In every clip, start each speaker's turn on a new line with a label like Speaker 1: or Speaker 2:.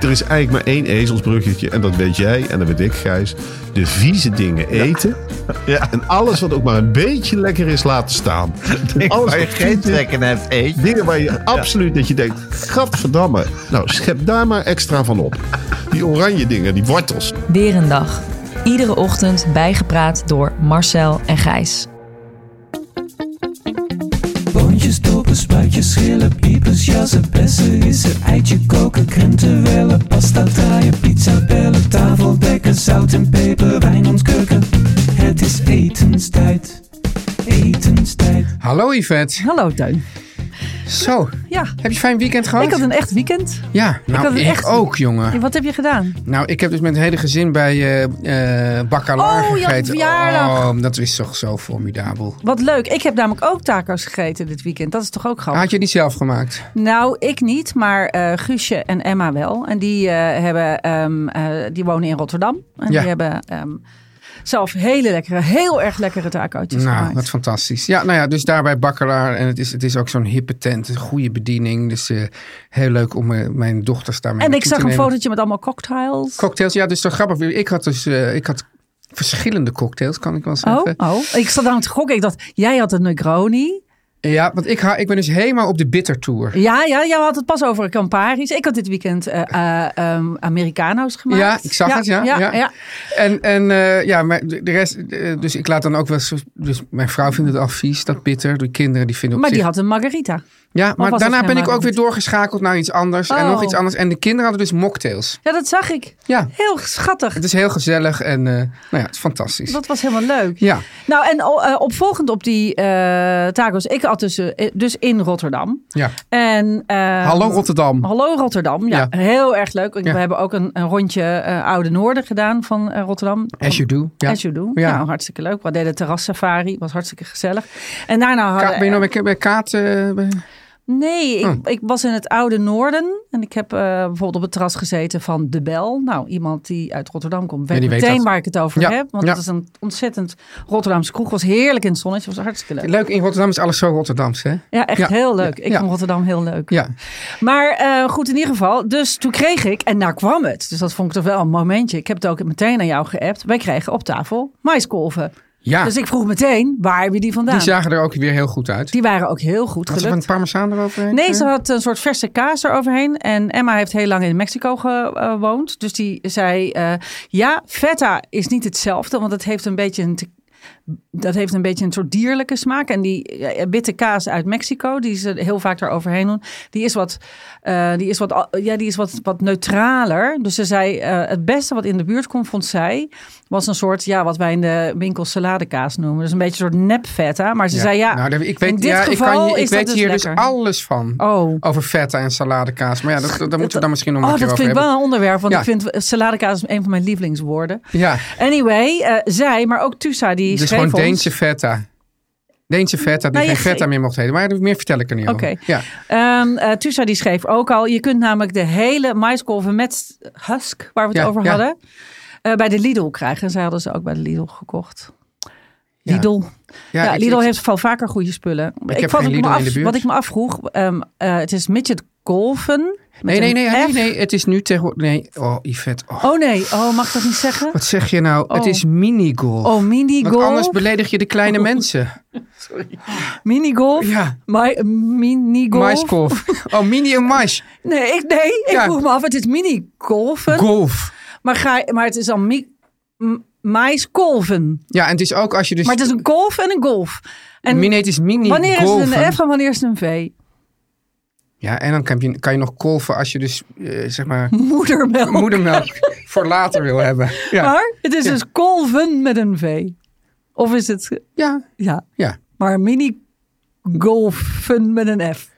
Speaker 1: Er is eigenlijk maar één ezelsbruggetje en dat weet jij en dat weet ik, Gijs. De vieze dingen eten
Speaker 2: Ja.
Speaker 1: en alles wat ook maar een beetje lekker is laten staan. Alles
Speaker 2: Waar je
Speaker 1: wat
Speaker 2: geen
Speaker 1: vies is,
Speaker 2: trek in hebt, eet je.
Speaker 1: Dingen waar je absoluut dat je denkt, gadverdamme. Nou, schep daar maar extra van op. Die oranje dingen, die wortels.
Speaker 3: Weer een dag. Iedere ochtend bijgepraat door Marcel en Gijs.
Speaker 4: Boontjes, dopen, spuitjes, schillen, piepers, jassen, bessen, rissen, eitje koken, krenten wellen, pasta draaien, pizza bellen, tafel dekken, zout en peper, wijn ontkurken. Het is etenstijd, etenstijd.
Speaker 5: Hallo Yvette.
Speaker 6: Hallo Teun.
Speaker 5: Zo,
Speaker 6: Ja,
Speaker 5: heb je een fijn weekend gehad?
Speaker 6: ik had een echt weekend.
Speaker 5: Ja, nou
Speaker 6: had
Speaker 5: ik,
Speaker 6: een echt-
Speaker 5: ook jongen.
Speaker 6: Wat heb je gedaan?
Speaker 5: Nou, ik heb dus met het hele gezin bij eh eh Bacalar
Speaker 6: Oh, je had
Speaker 5: gegeten.
Speaker 6: verjaardag.
Speaker 5: Oh, dat is toch zo formidabel.
Speaker 6: Wat leuk. Ik heb namelijk ook taco's gegeten dit weekend. Dat is toch ook grappig?
Speaker 5: Had je die zelf gemaakt?
Speaker 6: Nou, ik niet, maar eh, Guusje en Emma wel. En die, eh, hebben, ehm, eh, die wonen in Rotterdam. En
Speaker 5: Ja.
Speaker 6: die hebben ehm, zelf hele lekkere, heel erg lekkere tacootjes
Speaker 5: Nou,
Speaker 6: gemaakt.
Speaker 5: wat fantastisch. Ja, nou ja, dus daar bij Bakkelaar. En het is, het is ook zo'n hippe tent. Een goede bediening. Dus eh, heel leuk om eh, mijn dochters daarmee
Speaker 6: en ik
Speaker 5: naartoe
Speaker 6: zag
Speaker 5: te
Speaker 6: een
Speaker 5: nemen.
Speaker 6: fotootje met allemaal cocktails.
Speaker 5: Cocktails, ja, dus zo grappig. Ik had dus eh, ik had verschillende cocktails, kan ik wel
Speaker 6: oh,
Speaker 5: zeggen.
Speaker 6: oh, ik zat aan het gokken. Ik dacht, jij had een Negroni.
Speaker 5: Ja, want ik, ha- ik ben dus helemaal op de bitter tour.
Speaker 6: Ja, ja, jij had het pas over Camparis. Ik had dit weekend eh eh, ehm, Americano's gemaakt.
Speaker 5: Ja, ik zag het, ja, ja. En, en eh, ja, maar de de rest, eh, dus ik laat dan ook wel, eens- dus mijn vrouw vindt het al vies, dat bitter. De kinderen die vinden op
Speaker 6: Maar die
Speaker 5: zich-
Speaker 6: had een margarita.
Speaker 5: Ja, maar
Speaker 6: was dat
Speaker 5: daarna ben ik
Speaker 6: helemaal
Speaker 5: ook weer
Speaker 6: niet?
Speaker 5: doorgeschakeld naar iets anders en
Speaker 6: Oh.
Speaker 5: nog iets anders. En de kinderen hadden dus mocktails.
Speaker 6: Ja, dat zag ik.
Speaker 5: Ja,
Speaker 6: Heel schattig.
Speaker 5: het is heel gezellig en eh, nou ja, het is fantastisch.
Speaker 6: Dat was helemaal leuk.
Speaker 5: Ja,
Speaker 6: Nou, en o- eh, opvolgend op die eh tacos. Ik had dus, eh, dus in Rotterdam.
Speaker 5: ja.
Speaker 6: En, eh,
Speaker 5: Hallo Rotterdam.
Speaker 6: Hallo Rotterdam. Ja,
Speaker 5: Ja.
Speaker 6: heel erg leuk. Ik-
Speaker 5: Ja.
Speaker 6: We hebben ook een, een rondje eh, Oude Noorden gedaan van eh, Rotterdam.
Speaker 5: As you do. Ja.
Speaker 6: As you do.
Speaker 5: Ja.
Speaker 6: Nou, hartstikke leuk. We deden terrassafari. Was hartstikke gezellig. En daarna hadden...
Speaker 5: Ka- ben je nog bij, bij Kaat? eh, bij-
Speaker 6: Nee, ik,
Speaker 5: Hmm.
Speaker 6: ik was in het oude noorden. En ik heb eh, bijvoorbeeld op het terras gezeten van De Bel. Nou, iemand die uit Rotterdam komt, weet
Speaker 5: Ja, die weet
Speaker 6: meteen
Speaker 5: dat.
Speaker 6: waar ik het over
Speaker 5: Ja,
Speaker 6: heb. Want
Speaker 5: ja.
Speaker 6: dat is een ontzettend Rotterdamse kroeg. Was heerlijk in het zonnetje. Was hartstikke leuk.
Speaker 5: Leuk, in Rotterdam is alles zo Rotterdams, hè?
Speaker 6: Ja, echt
Speaker 5: Ja,
Speaker 6: heel leuk.
Speaker 5: ja,
Speaker 6: ik
Speaker 5: ja.
Speaker 6: vond Rotterdam heel leuk.
Speaker 5: Ja.
Speaker 6: Maar eh, goed, in ieder geval. Dus toen kreeg ik, en daar kwam het. Dus dat vond ik toch wel een momentje. Ik heb het ook meteen aan jou geappt. Wij kregen op tafel maiskolven.
Speaker 5: Ja,
Speaker 6: Dus ik vroeg meteen, waar heb je die vandaan?
Speaker 5: Ah. die zagen er ook weer heel goed uit.
Speaker 6: Die waren ook heel goed
Speaker 5: Had ze
Speaker 6: gelukt.
Speaker 5: van parmezaan eroverheen? Eh?
Speaker 6: Nee, ze had een soort verse kaas eroverheen. En Emma heeft heel lang in Mexico gewoond. Dus die zei, eh, ja, feta is niet hetzelfde. Want het heeft een beetje een, te- dat heeft een beetje een soort dierlijke smaak. En die eh, witte kaas uit Mexico, die ze heel vaak eroverheen doen... die is wat, eh, die is wat, al- ja, die is wat, wat neutraler. Dus ze zei, eh, het beste wat in de buurt komt, vond zij... was een soort, ja, wat wij in de winkel saladekaas noemen. Dus een beetje een soort nep feta. Maar ze zei, ja,
Speaker 5: Nou, ik weet,
Speaker 6: in dit
Speaker 5: ja, ik
Speaker 6: geval
Speaker 5: kan je, ik
Speaker 6: is dat
Speaker 5: weet
Speaker 6: dus
Speaker 5: hier dus
Speaker 6: lekker.
Speaker 5: alles van.
Speaker 6: Oh.
Speaker 5: Over feta en saladekaas. Maar ja, dat, dat, daar moeten we dan misschien nog
Speaker 6: Oh,
Speaker 5: een keer
Speaker 6: dat
Speaker 5: over
Speaker 6: vind ik
Speaker 5: hebben.
Speaker 6: wel een onderwerp. Want
Speaker 5: Ja.
Speaker 6: ik vind saladekaas is een van mijn lievelingswoorden.
Speaker 5: Ja,
Speaker 6: Anyway, eh, zij, maar ook Tusa, die
Speaker 5: dus
Speaker 6: schreef
Speaker 5: gewoon
Speaker 6: ons...
Speaker 5: Deense feta. Deense feta, die
Speaker 6: Nou, je
Speaker 5: geen feta
Speaker 6: ge-
Speaker 5: meer mocht heten. Maar meer vertel ik er niet
Speaker 6: Oké.
Speaker 5: over. Ja.
Speaker 6: Ehm, eh, Tusa die schreef ook al, je kunt namelijk de hele maiskolven met husk, waar we het
Speaker 5: Ja,
Speaker 6: over
Speaker 5: ja.
Speaker 6: hadden, eh, bij de Lidl krijgen. En zij hadden ze ook bij de Lidl gekocht.
Speaker 5: Ja.
Speaker 6: Lidl. Ja,
Speaker 5: ik-
Speaker 6: Lidl
Speaker 5: ik-
Speaker 6: heeft wel vaker goede spullen.
Speaker 5: heb
Speaker 6: vond
Speaker 5: geen
Speaker 6: het me
Speaker 5: Lidl in
Speaker 6: af-
Speaker 5: de buurt.
Speaker 6: Wat ik me afvroeg, ehm, eh, het is midget golven.
Speaker 5: Nee,
Speaker 6: Met
Speaker 5: nee,
Speaker 6: een
Speaker 5: nee, nee,
Speaker 6: F.
Speaker 5: nee. Het is nu tegenwoordig... Nee, oh Yvette. Oh,
Speaker 6: Oh nee, oh, mag ik dat niet zeggen?
Speaker 5: Wat zeg je nou? Het
Speaker 6: Oh.
Speaker 5: is minigolf.
Speaker 6: Oh, minigolf. Oh.
Speaker 5: Want anders beledig je de kleine mensen.
Speaker 6: minigolf.
Speaker 5: Ja.
Speaker 6: Mi- minigolf.
Speaker 5: Maiskolf. Oh, mini en mais.
Speaker 6: Nee, ik, nee, ik
Speaker 5: Ja.
Speaker 6: vroeg me af. Het is minigolfen.
Speaker 5: Golf.
Speaker 6: maar, ga, je- maar het is dan mi, m- maiskolven.
Speaker 5: Ja, en het is ook als je dus...
Speaker 6: Maar het is een golf en een golf. En
Speaker 5: Mini, het is mini
Speaker 6: wanneer is het een
Speaker 5: golven.
Speaker 6: F en wanneer is het een V?
Speaker 5: Ja, en dan kan je, kan je nog kolven als je dus, eh, zeg maar,
Speaker 6: Moedermelk.
Speaker 5: moedermelk voor later wil hebben. Ja,
Speaker 6: Maar het is
Speaker 5: Ja.
Speaker 6: dus kolven met een V. Of is het...
Speaker 5: ja,
Speaker 6: Ja.
Speaker 5: ja.
Speaker 6: Maar minigolfen met een F.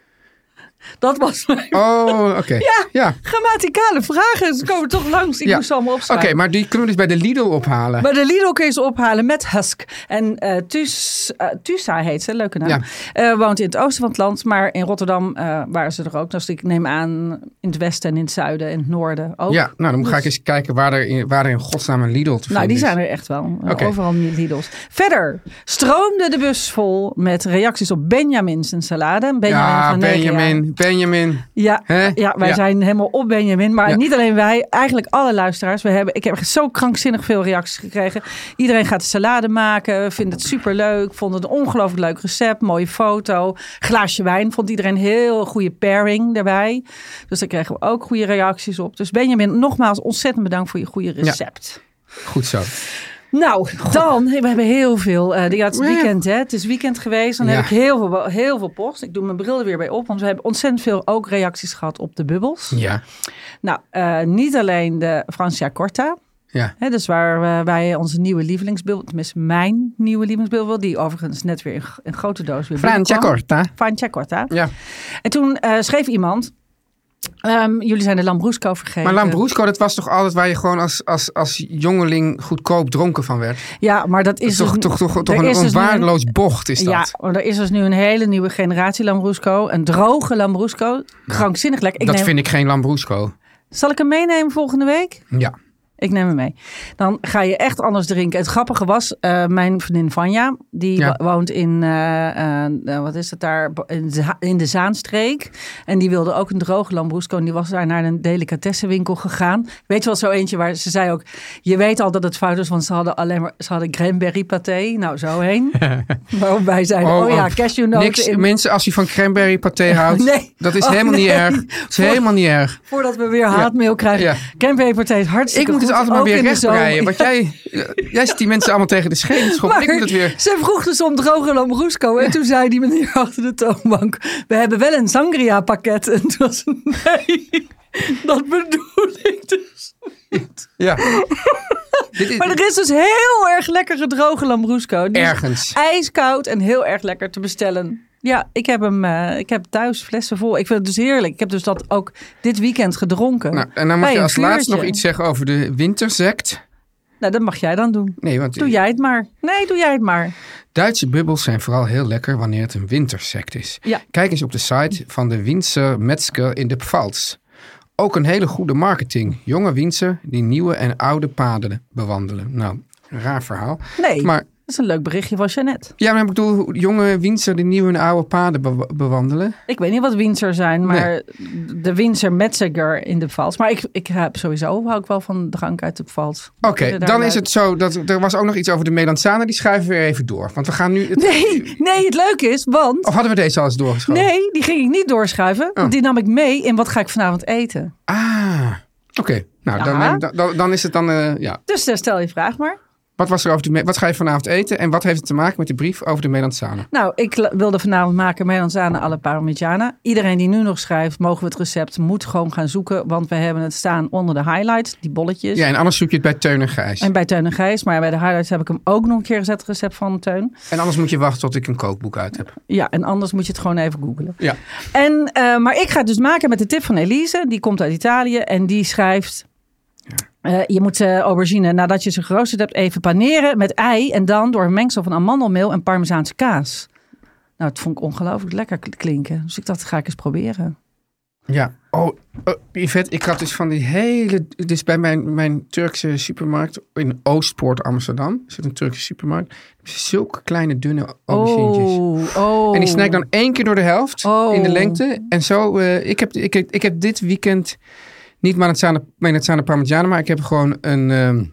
Speaker 6: Dat was mijn
Speaker 5: Oh, oké. Ja.
Speaker 6: grammaticale vragen. Ze komen toch langs. Ik
Speaker 5: Ja.
Speaker 6: moest ze allemaal
Speaker 5: Oké,
Speaker 6: opschrijven.
Speaker 5: maar die kunnen we dus bij de Lidl ophalen.
Speaker 6: Maar de Lidl kun je ze ophalen met Husk. En eh Tus, eh, Tusa heet ze, leuke naam.
Speaker 5: Ja.
Speaker 6: Eh, woont in het oosten van het land, maar in Rotterdam eh, waren ze er ook. Dus ik neem aan in het westen en in het zuiden en het noorden ook. Dus-
Speaker 5: Ja, nou dan ga ik eens kijken waar er in, waar er in godsnaam een Lidl te vinden
Speaker 6: Nou, die
Speaker 5: is.
Speaker 6: zijn er echt wel. Eh,
Speaker 5: Oké.
Speaker 6: Overal niet Lidl's. Verder stroomde de bus vol met reacties op Benjamin's en salade. Benjamin
Speaker 5: Ja,
Speaker 6: van negen jaar.
Speaker 5: Benjamin, Benjamin.
Speaker 6: Ja,
Speaker 5: Hè?
Speaker 6: ja wij
Speaker 5: Ja.
Speaker 6: zijn helemaal op Benjamin. Maar
Speaker 5: Ja.
Speaker 6: niet alleen wij, eigenlijk alle luisteraars. We hebben, ik heb zo krankzinnig veel reacties gekregen. Iedereen gaat de salade maken, vindt het superleuk. Vond het een ongelooflijk leuk recept, mooie foto. Glaasje wijn vond iedereen heel goede pairing daarbij. Dus daar kregen we ook goede reacties op. Dus Benjamin, nogmaals ontzettend bedankt voor je goede recept.
Speaker 5: Goed zo.
Speaker 6: Nou, dan, we hebben heel veel. eh ja, het is weekend, hè? Het is weekend geweest. Dan
Speaker 5: Ja.
Speaker 6: heb ik heel veel, heel veel post. Ik doe mijn bril er weer bij op, want we hebben ontzettend veel ook reacties gehad op de bubbels.
Speaker 5: Ja,
Speaker 6: Nou, eh, niet alleen de Francia Corta.
Speaker 5: ja.
Speaker 6: Hè, dus waar eh, wij onze nieuwe lievelingsbubbel, tenminste mijn nieuwe lievelingsbubbel, die overigens net weer in, g- een grote doos weer
Speaker 5: Francia
Speaker 6: binnenkwam.
Speaker 5: Corta.
Speaker 6: Francia Corta.
Speaker 5: Ja.
Speaker 6: En toen eh, schreef iemand, ehm, jullie zijn de Lambrusco vergeten.
Speaker 5: Maar Lambrusco, dat was toch altijd waar je gewoon als, als, als jongeling goedkoop dronken van werd?
Speaker 6: Ja, maar dat is
Speaker 5: toch,
Speaker 6: dus-
Speaker 5: toch, toch, toch
Speaker 6: er
Speaker 5: een
Speaker 6: is dus nu
Speaker 5: onwaardeloos bocht is dat.
Speaker 6: Ja, maar er is dus nu een hele nieuwe generatie Lambrusco. Een droge Lambrusco. Krankzinnig lekker. Ik
Speaker 5: dat
Speaker 6: neem-
Speaker 5: vind ik geen Lambrusco.
Speaker 6: Zal ik hem meenemen volgende week?
Speaker 5: Ja.
Speaker 6: Ik neem hem mee. Dan ga je echt anders drinken. Het grappige was, eh, mijn vriendin Vanja, die
Speaker 5: Ja.
Speaker 6: wo- woont in, eh, eh, eh, wat is het daar, Bo- in de, Za- in de Zaanstreek. En die wilde ook een droge lambrusco. En die was daar naar een delicatessenwinkel gegaan. Weet je wel, zo eentje waar ze zei ook, je weet al dat het fout is, want ze hadden alleen maar, ze hadden cranberry paté. Nou, zo heen. Waarom wij zeiden, oh,
Speaker 5: Oh,
Speaker 6: ja,
Speaker 5: oh,
Speaker 6: cashewnoten.
Speaker 5: Niks,
Speaker 6: in-
Speaker 5: mensen, als u van cranberry paté houdt,
Speaker 6: Nee.
Speaker 5: dat is
Speaker 6: Oh,
Speaker 5: helemaal niet
Speaker 6: nee.
Speaker 5: erg. Dat is helemaal niet erg.
Speaker 6: Voordat we weer haatmail krijgen.
Speaker 5: Ja.
Speaker 6: Cranberrypartij is
Speaker 5: Ik
Speaker 6: hartstikke
Speaker 5: moet het
Speaker 6: goed,
Speaker 5: altijd maar
Speaker 6: ook
Speaker 5: weer
Speaker 6: in de
Speaker 5: recht
Speaker 6: zomer.
Speaker 5: breien. Want jij, jij zit die mensen allemaal tegen de schenen schoppen.
Speaker 6: Maar
Speaker 5: Ik moet het weer...
Speaker 6: ze vroeg dus om droge Lambrusco. En toen zei die meneer achter de toonbank... we hebben wel een sangria pakket. En toen was het, nee, dat bedoel ik dus.
Speaker 5: Ja. Dit is,
Speaker 6: Maar er is dus heel erg lekkere droge Lambrusco. Die is
Speaker 5: Ergens.
Speaker 6: ijskoud en heel erg lekker te bestellen. Ja, ik heb hem eh, ik heb thuis flessen vol. Ik vind het dus heerlijk. Ik heb dus dat ook dit weekend gedronken.
Speaker 5: Nou, en dan
Speaker 6: Bij
Speaker 5: mag je
Speaker 6: een
Speaker 5: als laatst nog
Speaker 6: vuurtje.
Speaker 5: iets zeggen over de wintersect.
Speaker 6: Nou, dat mag jij dan doen.
Speaker 5: Nee, want
Speaker 6: Doe jij het maar. Nee, doe jij het maar.
Speaker 5: Duitse bubbels zijn vooral heel lekker wanneer het een wintersect is.
Speaker 6: Ja.
Speaker 5: Kijk eens op de site van de Winzer Metzger in de Pfalz. Ook een hele goede marketing. Jonge Winzer die nieuwe en oude paden bewandelen. Nou, een raar verhaal.
Speaker 6: Nee,
Speaker 5: Maar
Speaker 6: dat is een leuk berichtje van Jeannette.
Speaker 5: ja, maar ik bedoel, jonge Winzer die nieuwe en oude paden be- bewandelen.
Speaker 6: Ik weet niet wat Windsor zijn, maar de Windsor Metziger in de Vals. Maar ik, ik heb sowieso hou ik wel van drank uit de Vals.
Speaker 5: Oké, dan is het zo dat er was ook nog iets over de Melanzane. Die schuiven we weer even door. Want we gaan nu. het-
Speaker 6: Nee, nee, het leuke is, want...
Speaker 5: Of hadden we deze al eens doorgeschoven?
Speaker 6: Nee, die ging ik niet
Speaker 5: Oh.
Speaker 6: doorschuiven. want Die nam ik mee in wat ga ik vanavond eten.
Speaker 5: Ah, oké. Nou, dan,
Speaker 6: Ja.
Speaker 5: neem- dan, dan, dan is het dan. eh, ja.
Speaker 6: Dus eh, stel je vraag maar.
Speaker 5: Wat, was er over de, me- wat ga je vanavond eten en wat heeft het te maken met de brief over de melanzane?
Speaker 6: Nou, ik la- wilde vanavond maken melanzane alle parmigiana. Iedereen die nu nog schrijft, mogen we het recept, moet gewoon gaan zoeken. Want we hebben het staan onder de highlights, die bolletjes.
Speaker 5: Ja, en anders zoek je het bij Teun en Gijs.
Speaker 6: Dus- En
Speaker 5: En,
Speaker 6: bij Teun en Gijs, maar bij de highlights heb ik hem ook nog een keer gezet, het recept van Teun.
Speaker 5: anders moet je wachten tot ik een kookboek uit heb.
Speaker 6: Ja, en anders moet je het gewoon even googlen.
Speaker 5: Ja.
Speaker 6: En, eh, maar ik ga het dus maken met de tip van Elise. Die komt uit Italië en die schrijft... eh, je moet eh aubergine, nadat je ze geroosterd hebt, even paneren met ei. En dan door een mengsel van amandelmeel en parmezaanse kaas. Nou, het vond ik ongelooflijk lekker kl- klinken. Dus ik dacht, ga ik eens proberen.
Speaker 5: Ja. Oh, eh, Yvette, ik had dus van die hele... Dus bij mijn, mijn Turkse supermarkt in Oostpoort, Amsterdam, zit een Turkse supermarkt. Zulke kleine, dunne aubergines.
Speaker 6: Oh, oh.
Speaker 5: En die snijdt dan één keer door de helft
Speaker 6: Oh.
Speaker 5: in de lengte. En zo, eh, ik, heb, ik, heb- ik heb dit weekend niet Maranzane, Maranzane Parmigiana, maar ik heb gewoon een ehm,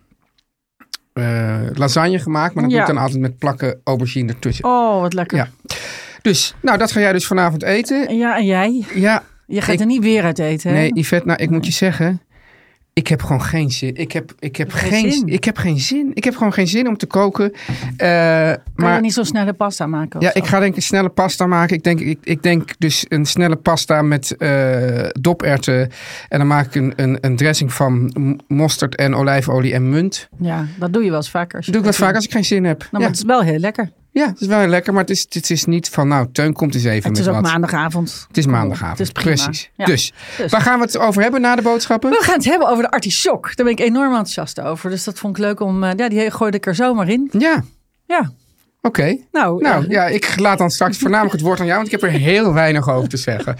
Speaker 5: eh, lasagne gemaakt. Maar dat
Speaker 6: Ja.
Speaker 5: doe ik dan altijd met plakken aubergine ertussen.
Speaker 6: Oh, wat lekker.
Speaker 5: Ja. Dus, nou, dat ga jij dus vanavond eten.
Speaker 6: Ja, en jij?
Speaker 5: Ja,
Speaker 6: Je gaat
Speaker 5: Ik-
Speaker 6: er niet weer uit eten, hè?
Speaker 5: nee, Yvette, nou, ik moet je zeggen... Ik heb gewoon geen zin. Ik heb, ik heb,
Speaker 6: Geen
Speaker 5: geen,
Speaker 6: zin.
Speaker 5: zin. Ik heb geen zin. Ik heb gewoon geen zin om te koken. Eh,
Speaker 6: Kan je
Speaker 5: maar
Speaker 6: niet zo snel de pasta maken? of
Speaker 5: Ja,
Speaker 6: zo?
Speaker 5: ik ga denk ik een snelle pasta maken. Ik denk, ik, ik denk dus een snelle pasta met eh doperwten. En dan maak ik een, een, een dressing van m- mosterd en olijfolie en munt.
Speaker 6: Ja, dat doe je wel eens vaker.
Speaker 5: Dat doe ik wat vaak als ik geen zin heb.
Speaker 6: Nou, maar
Speaker 5: ja.
Speaker 6: het is wel heel lekker.
Speaker 5: ja, het is wel heel lekker, maar het is, het is niet van nou, Teun komt eens even
Speaker 6: Het
Speaker 5: met
Speaker 6: is ook
Speaker 5: wat.
Speaker 6: maandagavond.
Speaker 5: het is maandagavond.
Speaker 6: Het is prima.
Speaker 5: Precies.
Speaker 6: Ja.
Speaker 5: Dus,
Speaker 6: Dus.
Speaker 5: waar gaan we het over hebben na de boodschappen?
Speaker 6: We gaan het hebben over de artichok. Daar ben ik enorm enthousiast over. Dus dat vond ik leuk om... eh, Ja, die gooide ik er zomaar in.
Speaker 5: Ja,
Speaker 6: Ja,
Speaker 5: oké.
Speaker 6: nou...
Speaker 5: Nou
Speaker 6: eh,
Speaker 5: ja, ik laat dan straks voornamelijk het woord aan jou, want ik heb er heel weinig over te zeggen.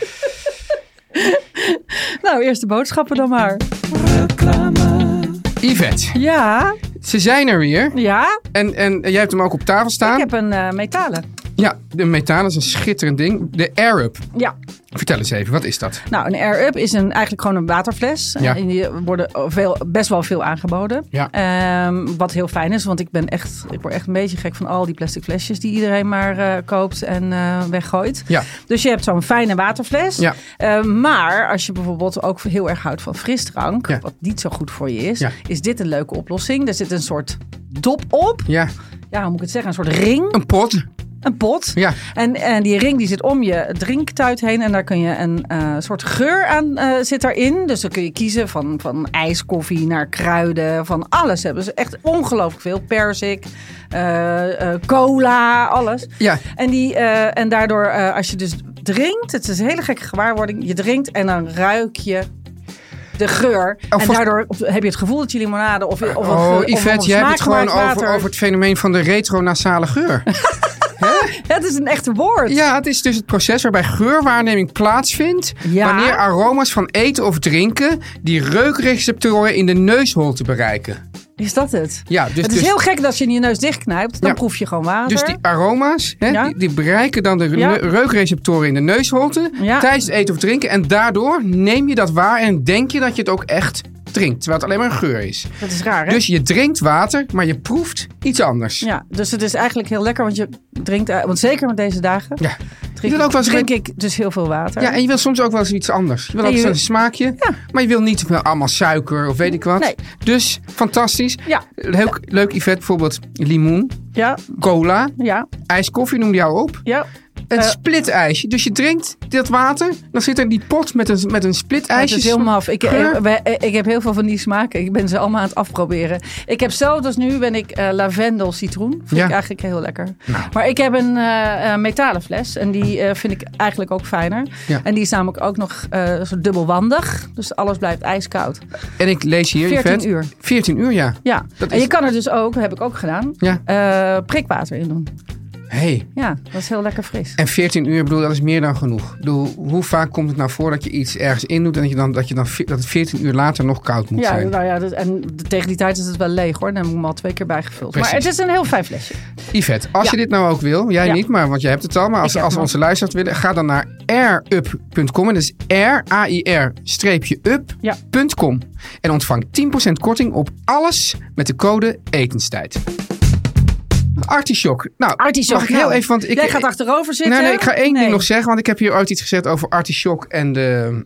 Speaker 6: nou eerst de boodschappen dan maar.
Speaker 5: Yvette,
Speaker 6: Ja,
Speaker 5: ze zijn er weer.
Speaker 6: ja.
Speaker 5: En, en jij hebt hem ook op tafel staan.
Speaker 6: Ik heb een eh, metalen.
Speaker 5: Ja, de methaan is een schitterend ding. De Air-Up.
Speaker 6: Ja,
Speaker 5: Vertel eens even, wat is dat?
Speaker 6: nou, een air-up is een, eigenlijk gewoon een waterfles.
Speaker 5: Ja.
Speaker 6: En die worden veel, best wel veel aangeboden.
Speaker 5: Ja.
Speaker 6: Ehm, wat heel fijn is, want ik, ben echt, ik word echt een beetje gek van al die plastic flesjes die iedereen maar eh, koopt en eh, weggooit.
Speaker 5: Ja.
Speaker 6: Dus je hebt zo'n fijne waterfles.
Speaker 5: Ja.
Speaker 6: Eh, maar als je bijvoorbeeld ook heel erg houdt van frisdrank,
Speaker 5: Ja.
Speaker 6: wat niet zo goed voor je is,
Speaker 5: Ja.
Speaker 6: is dit een leuke oplossing. Er zit een soort dop op.
Speaker 5: Ja,
Speaker 6: Ja, hoe moet ik het zeggen? Een soort ring.
Speaker 5: een pot.
Speaker 6: Een pot.
Speaker 5: Ja.
Speaker 6: En, en die ring die zit om je drinktuit heen. En daar kun je een eh, soort geur aan eh zit daarin. Dus dan kun je kiezen van, van ijskoffie naar kruiden. Van alles hebben ze. Echt ongelooflijk veel. Persik, eh, eh, cola, alles.
Speaker 5: Ja.
Speaker 6: En, die, eh, en daardoor eh, als je dus drinkt. Het is een hele gekke gewaarwording. Je drinkt en dan ruik je... De geur. en
Speaker 5: Oh, volgens-
Speaker 6: daardoor op- heb je het gevoel dat je limonade of, of, of, eh,
Speaker 5: oh,
Speaker 6: of
Speaker 5: Yvette, jij hebt het gewoon
Speaker 6: smaakgemaakt
Speaker 5: over,
Speaker 6: water-
Speaker 5: over het fenomeen van de retronasale geur.
Speaker 6: Het is een echt woord.
Speaker 5: ja, het is dus het proces waarbij geurwaarneming plaatsvindt...
Speaker 6: Ja.
Speaker 5: wanneer aroma's van eten of drinken... die reukreceptoren in de neusholte bereiken.
Speaker 6: Is dat het?
Speaker 5: Ja, dus-
Speaker 6: het is
Speaker 5: dus-
Speaker 6: heel gek dat als je in je neus dichtknijpt, dan
Speaker 5: Ja.
Speaker 6: proef je gewoon water.
Speaker 5: Dus die aroma's, hè,
Speaker 6: Ja.
Speaker 5: die, die bereiken dan de
Speaker 6: Ja.
Speaker 5: ne- reukreceptoren in de neusholte...
Speaker 6: Ja.
Speaker 5: tijdens het eten of drinken. En daardoor neem je dat waar en denk je dat je het ook echt drinkt. Terwijl het alleen maar een geur is.
Speaker 6: Dat is raar, hè?
Speaker 5: Dus je drinkt water, maar je proeft iets anders.
Speaker 6: ja, dus het is eigenlijk heel lekker, want je drinkt... eh, Want zeker met deze dagen
Speaker 5: Ja.
Speaker 6: drink,
Speaker 5: doet ook wel eens
Speaker 6: drink ik dus heel veel water.
Speaker 5: Ja, en je wil soms ook wel eens iets anders. Je wil
Speaker 6: Nee,
Speaker 5: ook
Speaker 6: je-
Speaker 5: zo'n smaakje. Maar je wil niet wel allemaal suiker of weet ik wat.
Speaker 6: Nee.
Speaker 5: Dus fantastisch.
Speaker 6: Ja.
Speaker 5: Leuk, leuk Yvette, bijvoorbeeld limoen,
Speaker 6: ja,
Speaker 5: cola,
Speaker 6: ja,
Speaker 5: ijskoffie noemde jou op.
Speaker 6: ja.
Speaker 5: Een
Speaker 6: Eh.
Speaker 5: splitijsje. Dus je drinkt dat water, dan zit er die pot met een, met een
Speaker 6: Het
Speaker 5: splitijsje.
Speaker 6: is heel maf. Ik,
Speaker 5: Geur.
Speaker 6: eh, wij- eh, ik, heb heel veel van die smaken. Ik ben ze allemaal aan het afproberen. Ik heb zelf dus nu ben ik eh, lavendel citroen. Vind
Speaker 5: Ja. Nou.
Speaker 6: ik eigenlijk heel lekker. Maar ik heb een eh, eh, metalen fles. En die eh, vind ik eigenlijk ook fijner.
Speaker 5: Ja.
Speaker 6: En die is namelijk ook nog eh zo dubbelwandig. Dus alles blijft ijskoud.
Speaker 5: En ik lees hier,
Speaker 6: 14
Speaker 5: Yvette.
Speaker 6: uur.
Speaker 5: 14 uur, ja.
Speaker 6: Ja,
Speaker 5: Dat
Speaker 6: en
Speaker 5: is-
Speaker 6: je kan er dus ook, heb ik ook gedaan,
Speaker 5: Ja.
Speaker 6: eh, prikwater in doen.
Speaker 5: Hey.
Speaker 6: Ja, dat is heel lekker fris.
Speaker 5: En 14 uur, ik bedoel, dat is meer dan genoeg. Ik bedoel, hoe vaak komt het nou voor dat je iets ergens in doet en dat, je dan, dat, je dan, ve- dat het 14 uur later nog koud moet
Speaker 6: Ja,
Speaker 5: zijn?
Speaker 6: nou ja, dat- en tegen die tijd is het wel leeg hoor. Dan heb ik hem al twee keer bijgevuld.
Speaker 5: Precies.
Speaker 6: Maar het is een heel fijn flesje.
Speaker 5: Yvette, als
Speaker 6: Ja.
Speaker 5: je dit nou ook wil, jij
Speaker 6: Ja.
Speaker 5: niet, maar want jij hebt het al. Maar als,
Speaker 6: heb
Speaker 5: als
Speaker 6: hem
Speaker 5: onze luisteraars willen, ga dan naar airup.com. En dat is
Speaker 6: Ja.
Speaker 5: r-a-i-r-up.com. En ontvang 10% korting op alles met de code etenstijd. Artichok. Nou,
Speaker 6: Artichok.
Speaker 5: mag ik heel
Speaker 6: nou,
Speaker 5: even, want ik...
Speaker 6: jij gaat achterover zitten.
Speaker 5: Nee, nee, ik ga één
Speaker 6: Nee.
Speaker 5: ding nog zeggen, want ik heb hier ooit iets gezegd over artichok en de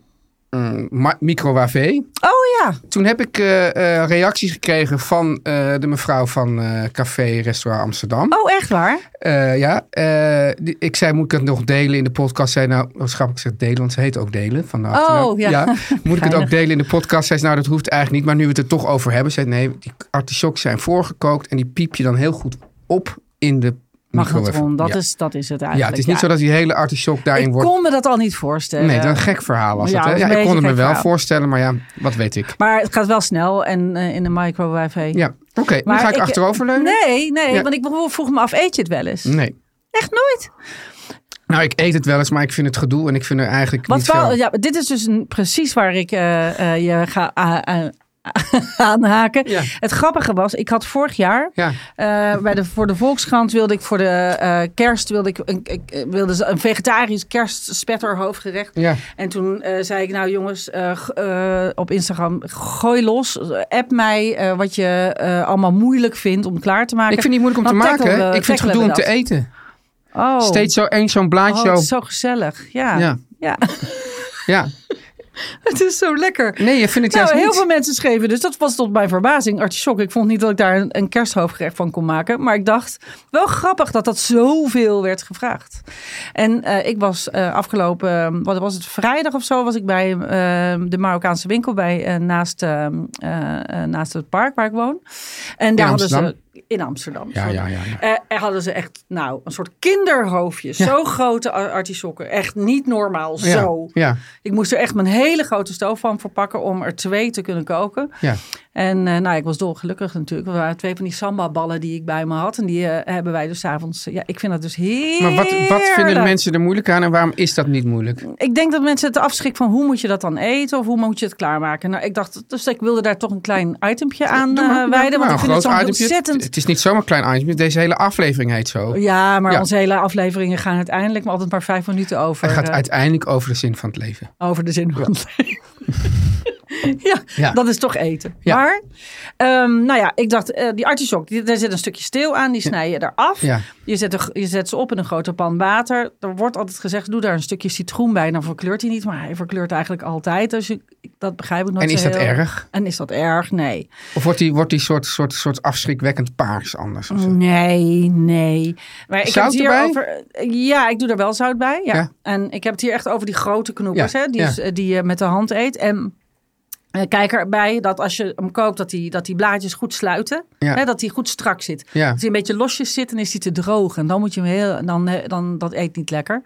Speaker 5: mm, ma- microwave.
Speaker 6: Oh ja.
Speaker 5: Toen heb ik eh, eh, reacties gekregen van eh, de mevrouw van eh, Café Restaurant Amsterdam.
Speaker 6: Oh, echt waar?
Speaker 5: Eh, ja, eh, die- ik zei, moet ik het nog delen in de podcast? Zij nou, wat grappig, ik zeg delen, want ze heet ook delen. Van de achternaam.
Speaker 6: Oh, ja.
Speaker 5: Moet ik het
Speaker 6: Geinig.
Speaker 5: ook delen in de podcast? Zei ze, nou, dat hoeft eigenlijk niet. Maar nu we het er toch over hebben, zei ze, nee, die artichokken zijn voorgekookt. En die piep je dan heel goed op in de
Speaker 6: Magnetron,
Speaker 5: microwave.
Speaker 6: dat,
Speaker 5: Ja.
Speaker 6: is, dat is het
Speaker 5: Ja,
Speaker 6: eigenlijk.
Speaker 5: het is niet zo dat die hele artichok daarin
Speaker 6: Ik
Speaker 5: wordt.
Speaker 6: kon me dat al niet voorstellen.
Speaker 5: Nee, dat een gek verhaal was
Speaker 6: Ja,
Speaker 5: het.
Speaker 6: dat
Speaker 5: Hè?
Speaker 6: is
Speaker 5: Ja,
Speaker 6: een
Speaker 5: ik
Speaker 6: beetje
Speaker 5: kon het me
Speaker 6: een
Speaker 5: wel
Speaker 6: gek verhaal.
Speaker 5: voorstellen, maar ja, wat weet ik.
Speaker 6: Maar het gaat wel snel en eh, in de microwave. hey.
Speaker 5: Ja, oké.
Speaker 6: Maar
Speaker 5: nu ga ik, achteroverleunen.
Speaker 6: Nee, nee,
Speaker 5: Ja.
Speaker 6: want ik vroeg me af, eet je het wel eens?
Speaker 5: Nee.
Speaker 6: Echt nooit?
Speaker 5: Nou, ik eet het wel eens, maar ik vind het gedoe en ik vind er eigenlijk
Speaker 6: Wat
Speaker 5: niet
Speaker 6: wel-
Speaker 5: veel.
Speaker 6: ja, dit is dus een, precies waar ik eh, eh, je ga a- a- aanhaken.
Speaker 5: Ja.
Speaker 6: Het grappige was, ik had vorig jaar
Speaker 5: Ja.
Speaker 6: eh, bij de, voor de Volkskrant wilde ik voor de eh, kerst wilde ik een, ik- eh, wilde ze een vegetarisch kerstspetter hoofdgerecht.
Speaker 5: Ja.
Speaker 6: En toen eh, zei ik, nou jongens, eh, g- eh, op Instagram, gooi los. App mij eh, wat je eh, allemaal moeilijk vindt om klaar te maken.
Speaker 5: Ik vind het niet moeilijk om
Speaker 6: Dan
Speaker 5: te
Speaker 6: tackelen
Speaker 5: maken. hè.
Speaker 6: we-
Speaker 5: ik vind het gedoe
Speaker 6: tackelen
Speaker 5: om te
Speaker 6: we
Speaker 5: eten.
Speaker 6: dat. Oh,
Speaker 5: Steeds zo één zo'n
Speaker 6: oh,
Speaker 5: blaadje.
Speaker 6: het
Speaker 5: zo-
Speaker 6: is zo gezellig.
Speaker 5: ja.
Speaker 6: ja.
Speaker 5: ja.
Speaker 6: Het is zo lekker.
Speaker 5: Nee, je vindt het
Speaker 6: Nou,
Speaker 5: juist
Speaker 6: heel
Speaker 5: niet.
Speaker 6: veel mensen schreven, dus dat was tot mijn verbazing. Artisjok, ik vond niet dat ik daar een, een kersthoofdgerecht van kon maken. Maar ik dacht, wel grappig dat dat zoveel werd gevraagd. En eh, ik was eh, afgelopen, eh, wat was het, vrijdag of zo... was ik bij eh, de Marokkaanse winkel bij, eh, naast, eh, eh, eh, naast het park waar ik woon. En daar hadden ze...
Speaker 5: Amsterdam?
Speaker 6: In Amsterdam.
Speaker 5: Ja,
Speaker 6: sorry.
Speaker 5: ja, ja, ja.
Speaker 6: Eh, er hadden ze echt, nou, een soort kinderhoofdjes. Zo grote ar- artisjokken. Echt niet normaal.
Speaker 5: Ja.
Speaker 6: Zo.
Speaker 5: Ja.
Speaker 6: Ik moest er echt mijn hele grote stoof van verpakken om er twee te kunnen koken.
Speaker 5: Ja.
Speaker 6: En eh, nou, ik was dolgelukkig natuurlijk. Er waren twee van die sambaballen die ik bij me had. En die eh, hebben wij dus 's avonds. ja, ik vind dat dus heerlijk.
Speaker 5: Maar wat, wat vinden de mensen er moeilijk aan en waarom is dat niet moeilijk?
Speaker 6: Ik denk dat mensen het afschrik van hoe moet je dat dan eten of hoe moet je het klaarmaken. Nou, ik dacht, dus ik wilde daar toch een klein itempje aan eh, wijden. Want
Speaker 5: Nou,
Speaker 6: ik vind
Speaker 5: groot
Speaker 6: het zo
Speaker 5: itempje.
Speaker 6: ontzettend Oh,
Speaker 5: Het is niet zomaar een klein itemje. Deze hele aflevering heet zo.
Speaker 6: Ja, maar
Speaker 5: Ja.
Speaker 6: onze hele afleveringen gaan uiteindelijk maar altijd maar vijf minuten over,
Speaker 5: Hij gaat
Speaker 6: eh,
Speaker 5: uiteindelijk over de zin van het leven.
Speaker 6: over de zin van het leven. ja,
Speaker 5: Ja.
Speaker 6: dat is toch eten.
Speaker 5: Ja.
Speaker 6: Maar, ehm, nou ja, ik dacht, eh, die artisjok, die, daar zit een stukje steel aan, die snij je eraf.
Speaker 5: Ja.
Speaker 6: Je, zet er, je zet ze op in een grote pan water. Er wordt altijd gezegd, doe daar een stukje citroen bij, dan verkleurt hij niet. Maar hij verkleurt eigenlijk altijd, dus je, dat begrijp ik nog
Speaker 5: En is dat
Speaker 6: heel.
Speaker 5: erg?
Speaker 6: En is dat erg? Nee.
Speaker 5: Of wordt die, wordt die soort, soort, soort afschrikwekkend paars anders? of zo?
Speaker 6: Mm. Nee, nee. Maar ik
Speaker 5: Zout
Speaker 6: heb het hier
Speaker 5: erbij?
Speaker 6: over. Ja, ik doe er wel zout bij. Ja.
Speaker 5: Ja.
Speaker 6: En ik heb het hier echt over die grote knoepers,
Speaker 5: Ja,
Speaker 6: hè, die,
Speaker 5: ja.
Speaker 6: is- eh, die je met de hand eet. En eh, kijk erbij dat als je hem koopt, dat die, dat die blaadjes goed sluiten.
Speaker 5: Ja.
Speaker 6: Hè, dat die goed strak zit.
Speaker 5: Ja.
Speaker 6: Als hij een beetje losjes zit, dan is hij te droog. En dan moet je hem heel. Dan, eh, dan, dat eet niet lekker.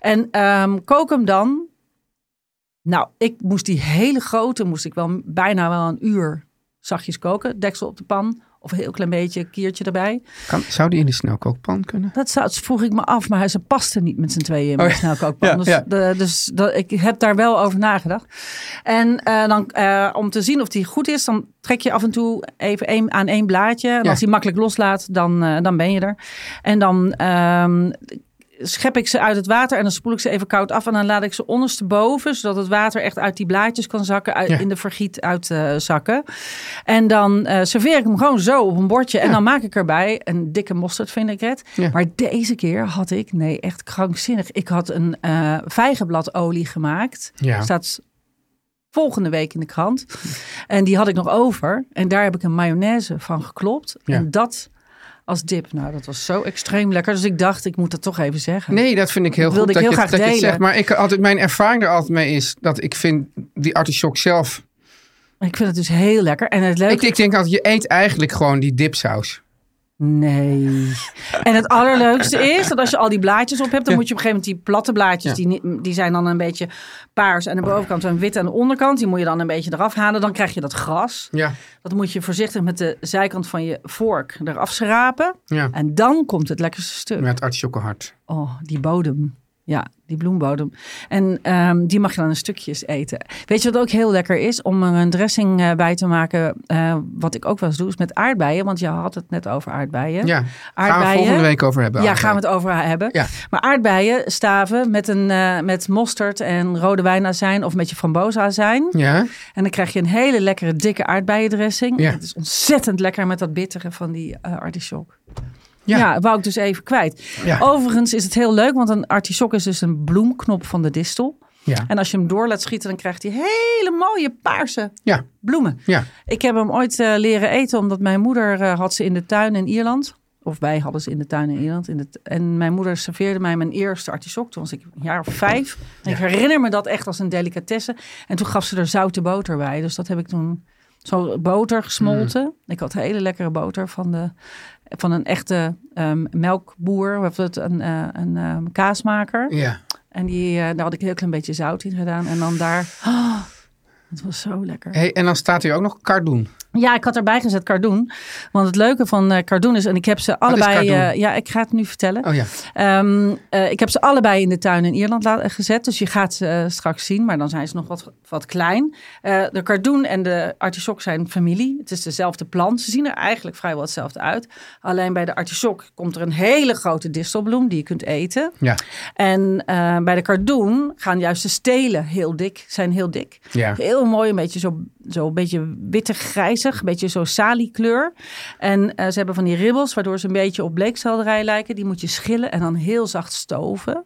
Speaker 6: En ehm, kook hem dan. Nou, ik moest die hele grote, moest ik wel bijna wel een uur zachtjes koken. Deksel op de pan. Of een heel klein beetje kiertje erbij.
Speaker 5: Kan, zou die in de snelkookpan kunnen?
Speaker 6: Dat zou, dat vroeg ik me af, maar ze pasten niet met z'n tweeën in mijn
Speaker 5: Oh, ja.
Speaker 6: snelkookpan.
Speaker 5: Ja,
Speaker 6: dus
Speaker 5: ja.
Speaker 6: de- dus dat, ik heb daar wel over nagedacht. En eh, dan, eh, om te zien of die goed is, dan trek je af en toe even één aan één blaadje. En
Speaker 5: Ja.
Speaker 6: als die makkelijk loslaat, dan, eh, dan ben je er. En dan ehm, schep ik ze uit het water en dan spoel ik ze even koud af. En dan laat ik ze ondersteboven, zodat het water echt uit die blaadjes kan zakken. Uit,
Speaker 5: Ja.
Speaker 6: In de vergiet uit eh, zakken. En dan eh, serveer ik hem gewoon zo op een bordje. En dan maak ik erbij een dikke mosterd, vind ik het.
Speaker 5: Ja.
Speaker 6: Maar deze keer had ik, nee, echt krankzinnig. Ik had een eh vijgenbladolie gemaakt.
Speaker 5: Ja.
Speaker 6: Staat volgende week in de krant. En die had ik nog over. En daar heb ik een mayonaise van geklopt.
Speaker 5: Ja.
Speaker 6: En dat als dip. Nou, dat was zo extreem lekker. Dus ik dacht, ik moet dat toch even zeggen.
Speaker 5: Nee, dat vind ik heel
Speaker 6: Dat
Speaker 5: goed
Speaker 6: wilde
Speaker 5: dat,
Speaker 6: ik
Speaker 5: je,
Speaker 6: heel graag
Speaker 5: dat je het
Speaker 6: delen.
Speaker 5: zegt. Maar ik, altijd, mijn ervaring er altijd mee is dat ik vind die artichok zelf...
Speaker 6: Ik vind het dus heel lekker. En het leuke...
Speaker 5: Ik, ik denk altijd, je eet eigenlijk gewoon die dipsaus.
Speaker 6: Nee. En het allerleukste is dat als je al die blaadjes op hebt, dan moet je op een gegeven moment die platte blaadjes, die, niet- die zijn dan een beetje paars aan de bovenkant en wit aan de onderkant, die moet je dan een beetje eraf halen. Dan krijg je dat gras.
Speaker 5: Ja,
Speaker 6: Dat moet je voorzichtig met de zijkant van je vork eraf schrapen.
Speaker 5: ja.
Speaker 6: En dan komt het lekkerste stuk.
Speaker 5: met artichokkenhart.
Speaker 6: Oh, die bodem. Ja, die bloembodem. En ehm, die mag je dan in stukjes eten. Weet je wat ook heel lekker is? Om er een dressing eh, bij te maken. eh, wat ik ook wel eens doe, is met aardbeien. Want je had het net over aardbeien.
Speaker 5: Ja, gaan we
Speaker 6: Aardbeien?
Speaker 5: volgende week over hebben.
Speaker 6: Ja,
Speaker 5: André.
Speaker 6: gaan we het over hebben.
Speaker 5: Ja.
Speaker 6: Maar aardbeien staven met, een, eh, met mosterd en rode wijnazijn of met je framboosazijn.
Speaker 5: Ja,
Speaker 6: En dan krijg je een hele lekkere dikke aardbeiendressing.
Speaker 5: Ja.
Speaker 6: Het is ontzettend lekker met dat bittere van die eh artisjok. Ja.
Speaker 5: Ja.
Speaker 6: wou ik dus even kwijt.
Speaker 5: Ja.
Speaker 6: Overigens is het heel leuk, want een artisjok is dus een bloemknop van de distel.
Speaker 5: ja,
Speaker 6: En als je hem door laat schieten, dan krijgt hij hele mooie paarse
Speaker 5: ja,
Speaker 6: bloemen.
Speaker 5: ja.
Speaker 6: Ik heb hem ooit eh, leren eten omdat mijn moeder eh, had ze in de tuin in Ierland. Of wij hadden ze in de tuin in Ierland. In de t- en mijn moeder serveerde mij mijn eerste artisjok. Toen was ik een jaar of vijf. En ik herinner me dat echt als een delicatesse. En toen gaf ze er zoute boter bij. Dus dat heb ik toen zo boter gesmolten. Ik had hele lekkere boter van, de, van een echte ehm, melkboer. Of dat, een, eh, een ehm, kaasmaker.
Speaker 5: ja.
Speaker 6: En die, eh, daar had ik een heel klein beetje zout in gedaan. En dan daar... Oh, het was zo lekker.
Speaker 5: Hey, en dan staat hier ook nog cardoen.
Speaker 6: Ja, ik had erbij gezet Cardoen. Want het leuke van eh Cardoen is, en ik heb ze
Speaker 5: is
Speaker 6: allebei.
Speaker 5: Cardoen?
Speaker 6: eh, ja, ik ga het nu vertellen.
Speaker 5: Oh ja.
Speaker 6: Ehm, eh, ik heb ze allebei in de tuin in Ierland la- gezet. Dus je gaat ze eh, straks zien, maar dan zijn ze nog wat, wat klein. Eh, de cardoen en de artisjok zijn familie. Het is dezelfde plant. Ze zien er eigenlijk vrijwel hetzelfde uit. Alleen bij de artisjok komt er een hele grote distelbloem die je kunt eten.
Speaker 5: Ja.
Speaker 6: En eh, bij de cardoen gaan juist de stelen heel dik, zijn heel dik.
Speaker 5: Ja.
Speaker 6: Heel mooi, een beetje zo, zo een beetje witte grijzig, een beetje zo saliekleur. En eh, ze hebben van die ribbels, waardoor ze een beetje op bleekselderij lijken. Die moet je schillen en dan heel zacht stoven.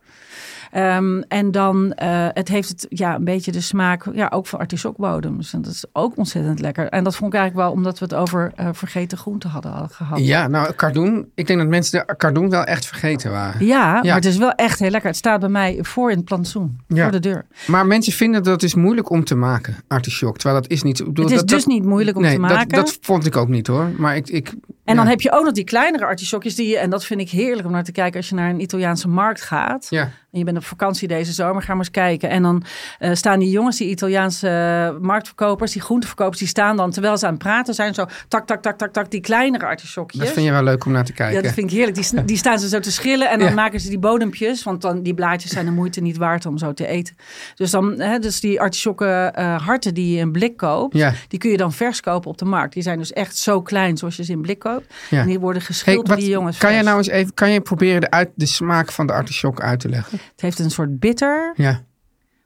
Speaker 6: Ehm, en dan eh, het heeft het ja, een beetje de smaak ja, ook van artisokbodems. En dat is ook ontzettend lekker. En dat vond ik eigenlijk wel omdat we het over eh, vergeten groenten hadden al gehad.
Speaker 5: ja, nou, cardoen. Ik denk dat mensen de cardoen wel echt vergeten waren.
Speaker 6: Ja, maar
Speaker 5: Ja.
Speaker 6: het is wel echt heel lekker. Het staat bij mij voor in het plantsoen,
Speaker 5: Ja.
Speaker 6: voor de deur.
Speaker 5: Maar mensen vinden dat is moeilijk om te maken, artichok. Terwijl dat is niet... Ik bedoel,
Speaker 6: Het is
Speaker 5: dat,
Speaker 6: dus
Speaker 5: dat-
Speaker 6: niet moeilijk om
Speaker 5: nee,
Speaker 6: te
Speaker 5: dat-
Speaker 6: maken.
Speaker 5: Dat, vond ik ook niet hoor. Maar ik... ik
Speaker 6: En dan
Speaker 5: ja.
Speaker 6: heb je ook nog die kleinere artisjokjes die je, en dat vind ik heerlijk om naar te kijken als je naar een Italiaanse markt gaat.
Speaker 5: Ja,
Speaker 6: En je bent op vakantie deze zomer, ga maar eens kijken. En dan eh, staan die jongens, die Italiaanse eh, marktverkopers, die groenteverkopers, die staan dan terwijl ze aan het praten zijn, zo tak, tak, tak, tak, tak, die kleinere artisjokjes.
Speaker 5: dat vind je wel leuk om naar te
Speaker 6: Ja,
Speaker 5: kijken.
Speaker 6: dat vind ik heerlijk. Die, sn- die staan ze zo te schillen en dan
Speaker 5: Ja.
Speaker 6: maken ze die bodempjes. Want dan, die blaadjes zijn de moeite niet waard om zo te eten. Dus, dan, hè, dus die artisjokken eh harten die je in blik koopt,
Speaker 5: Ja.
Speaker 6: die kun je dan vers kopen op de markt. Die zijn dus echt zo klein zoals je ze in blik koopt.
Speaker 5: Ja.
Speaker 6: En die worden
Speaker 5: Hey,
Speaker 6: geschild door
Speaker 5: wat-
Speaker 6: die jongens.
Speaker 5: kan
Speaker 6: vers.
Speaker 5: jij nou eens even... Kan je proberen de, uit, de smaak van de artichok uit te leggen?
Speaker 6: Het heeft een soort bitter.
Speaker 5: Ja.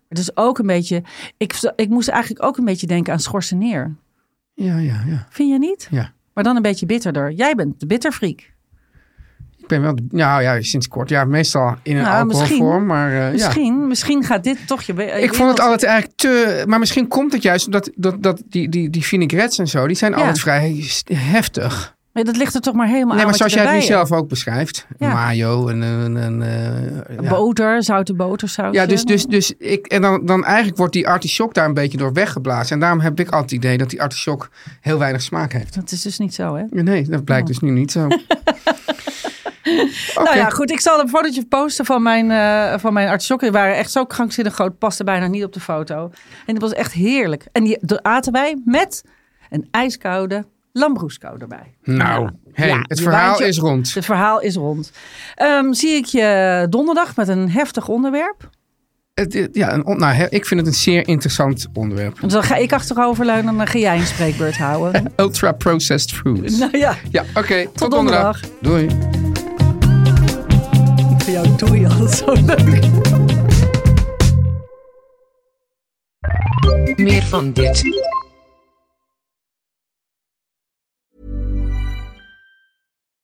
Speaker 6: Het is ook een beetje... Ik, ik moest eigenlijk ook een beetje denken aan schorseneer.
Speaker 5: Ja, ja, ja.
Speaker 6: Vind je niet?
Speaker 5: Ja.
Speaker 6: Maar dan een beetje bitterder. Jij bent de bitterfreak.
Speaker 5: Ik ben wel... Nou ja, sinds kort. Ja, meestal in een
Speaker 6: Nou, misschien.
Speaker 5: alcoholvorm. Maar eh, ja.
Speaker 6: Misschien, misschien gaat dit toch je... be-
Speaker 5: Ik vond het altijd eigenlijk te. Maar misschien komt het juist omdat dat, dat, die, die, die vinaigrettes en zo, die zijn
Speaker 6: Ja.
Speaker 5: altijd vrij st- heftig.
Speaker 6: Maar Dat ligt er toch maar helemaal
Speaker 5: nee,
Speaker 6: aan
Speaker 5: maar
Speaker 6: wat je
Speaker 5: zoals jij het nu
Speaker 6: erbij hebt.
Speaker 5: zelf ook beschrijft.
Speaker 6: Ja.
Speaker 5: Mayo en. en, en, eh, ja.
Speaker 6: Boter, zoute botersaus.
Speaker 5: ja, dus, dus, dus ik, en dan, dan eigenlijk wordt die artichok daar een beetje door weggeblazen. En daarom heb ik altijd het idee dat die artichok heel weinig smaak heeft.
Speaker 6: Dat is dus niet zo, hè?
Speaker 5: Nee, dat blijkt dus nu niet zo. Oké.
Speaker 6: Nou ja, goed. Ik zal een fotootje posten van mijn, eh van mijn artisjokken. Die waren echt zo krankzinnig groot. Paste bijna niet op de foto. En dat was echt heerlijk. En die do- aten wij met een ijskoude lambroeskou erbij.
Speaker 5: Nou, hey,
Speaker 6: Ja,
Speaker 5: het
Speaker 6: je
Speaker 5: verhaal
Speaker 6: waant je-
Speaker 5: is rond.
Speaker 6: Het verhaal is rond. Ehm, zie ik je donderdag met een heftig onderwerp.
Speaker 5: Het- ja, een on- nou, he- ik vind het een zeer interessant onderwerp.
Speaker 6: Dus dan ga ik achterover leunen en dan ga jij een spreekbeurt houden.
Speaker 5: Ultra processed foods.
Speaker 6: nou ja,
Speaker 5: Ja, oké. tot,
Speaker 6: Tot
Speaker 5: donderdag. Doei.
Speaker 6: voor jou doe je altijd zo leuk.
Speaker 2: Meer van dit.